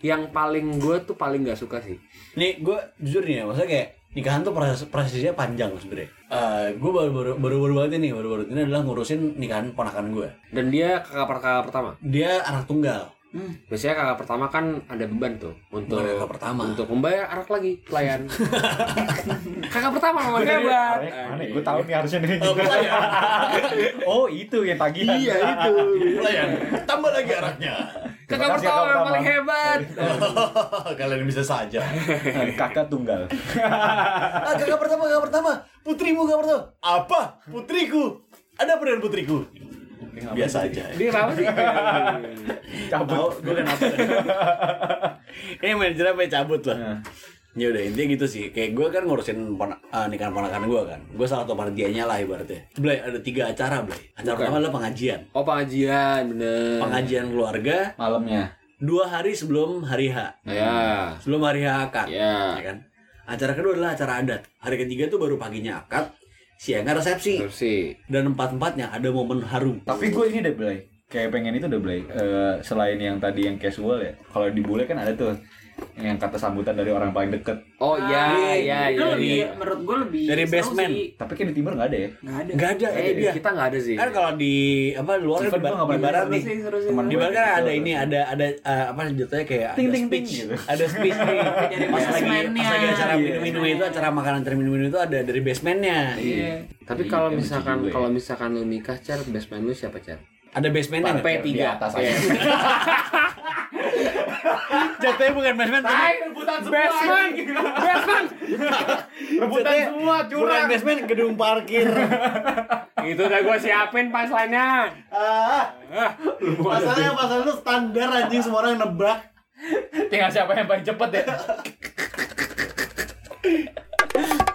yang paling gue tuh paling nggak suka sih
Nih gue jujur nih ya, maksudnya kayak nikahan tuh proses prosesnya panjang sebenarnya. Eh gue baru baru baru baru banget ini baru baru ini adalah ngurusin nikahan ponakan gue.
dan dia kakak per- kakak pertama
Dia anak tunggal.
biasanya kakak pertama kan ada beban tuh untuk
Bukan kakak pertama. [laughs]
untuk membayar anak lagi pelayan kakak pertama memang hebat
Orangnya kemana ya? gue tahu nih harusnya nih [laughs] oh itu yang tagihan
iya itu
Pelayan, tambah lagi anaknya. [laughs]
kakak
kasih,
pertama
kakak
memang
pertama.
paling hebat
Kalian bisa saja.
kakak tunggal
Ah, kakak pertama, kakak pertama. Putrimu kakak pertama. Apa? Putriku. Ada apa dengan putriku? Biasa aja.
dia kenapa sih
Tahu gue kenapa. Ini manajernya apa cabut lah. Ya udah intinya gitu sih. Kayak gue kan ngurusin pon eh, nikahan ponakan gue kan. Gue salah satu panitianya lah ibaratnya. Blay, ada tiga acara, Blay. Acara pertama adalah pengajian.
oh pengajian bener
Pengajian keluarga
malamnya
dua hari sebelum hari H.
ya
Sebelum hari H akad.
Ya.
Ya kan? Acara kedua adalah acara adat. Hari ketiga tuh baru paginya akad, siangnya resepsi.
Korupsi.
Dan empat-empatnya ada momen harum.
tapi gue ini udah belai kayak pengen itu udah belai Eh, selain yang tadi yang casual ya kalau di bule kan ada tuh yang kata sambutan dari orang paling deket
Oh iya, iya,
itu
iya.
lebih
iya.
menurut gue lebih
Dari
seru
basement.
sih.
tapi kan di timur nggak ada ya
Nggak ada.
Nggak ada,
Eh,
itu dia.
kita nggak ada sih.
Kan kalau di apa
Oh,
luar kan
Even
di ba-
gua nggak
di
pernah
barat
Seru
nih.
sih, seru
Teman
Di
sih, seru.
gua- gitu.
barat kan ada
Betul.
ini, ada ada eh, apa jatuhnya kayak
Ting,
ada
ting, ting
speech,
gitu.
ada speech nih.
Dari
pas lagi
basementnya.
pas lagi acara
Iya.
minum-minum itu acara makanan acara minum-minum itu ada dari basementnya.
Iya.
Tapi kalau
Iya, lucu
misalkan
juga ya.
kalau misalkan lu nikah, Cer, basement lu siapa, Cer?
Ada basementnya. nggak?
P3.
di atas aja.
Iya.
Jatuhnya bukan basement. tapi-
Basement. Basement.
Rebutan
Jatuhnya
semua
Bukan
curang.
basement, gedung parkir.
Itu udah gua siapin pasalnya.
Ah, pasalnya pasal itu standar anjing semua orang nebak.
Tinggal siapa yang paling cepet ya.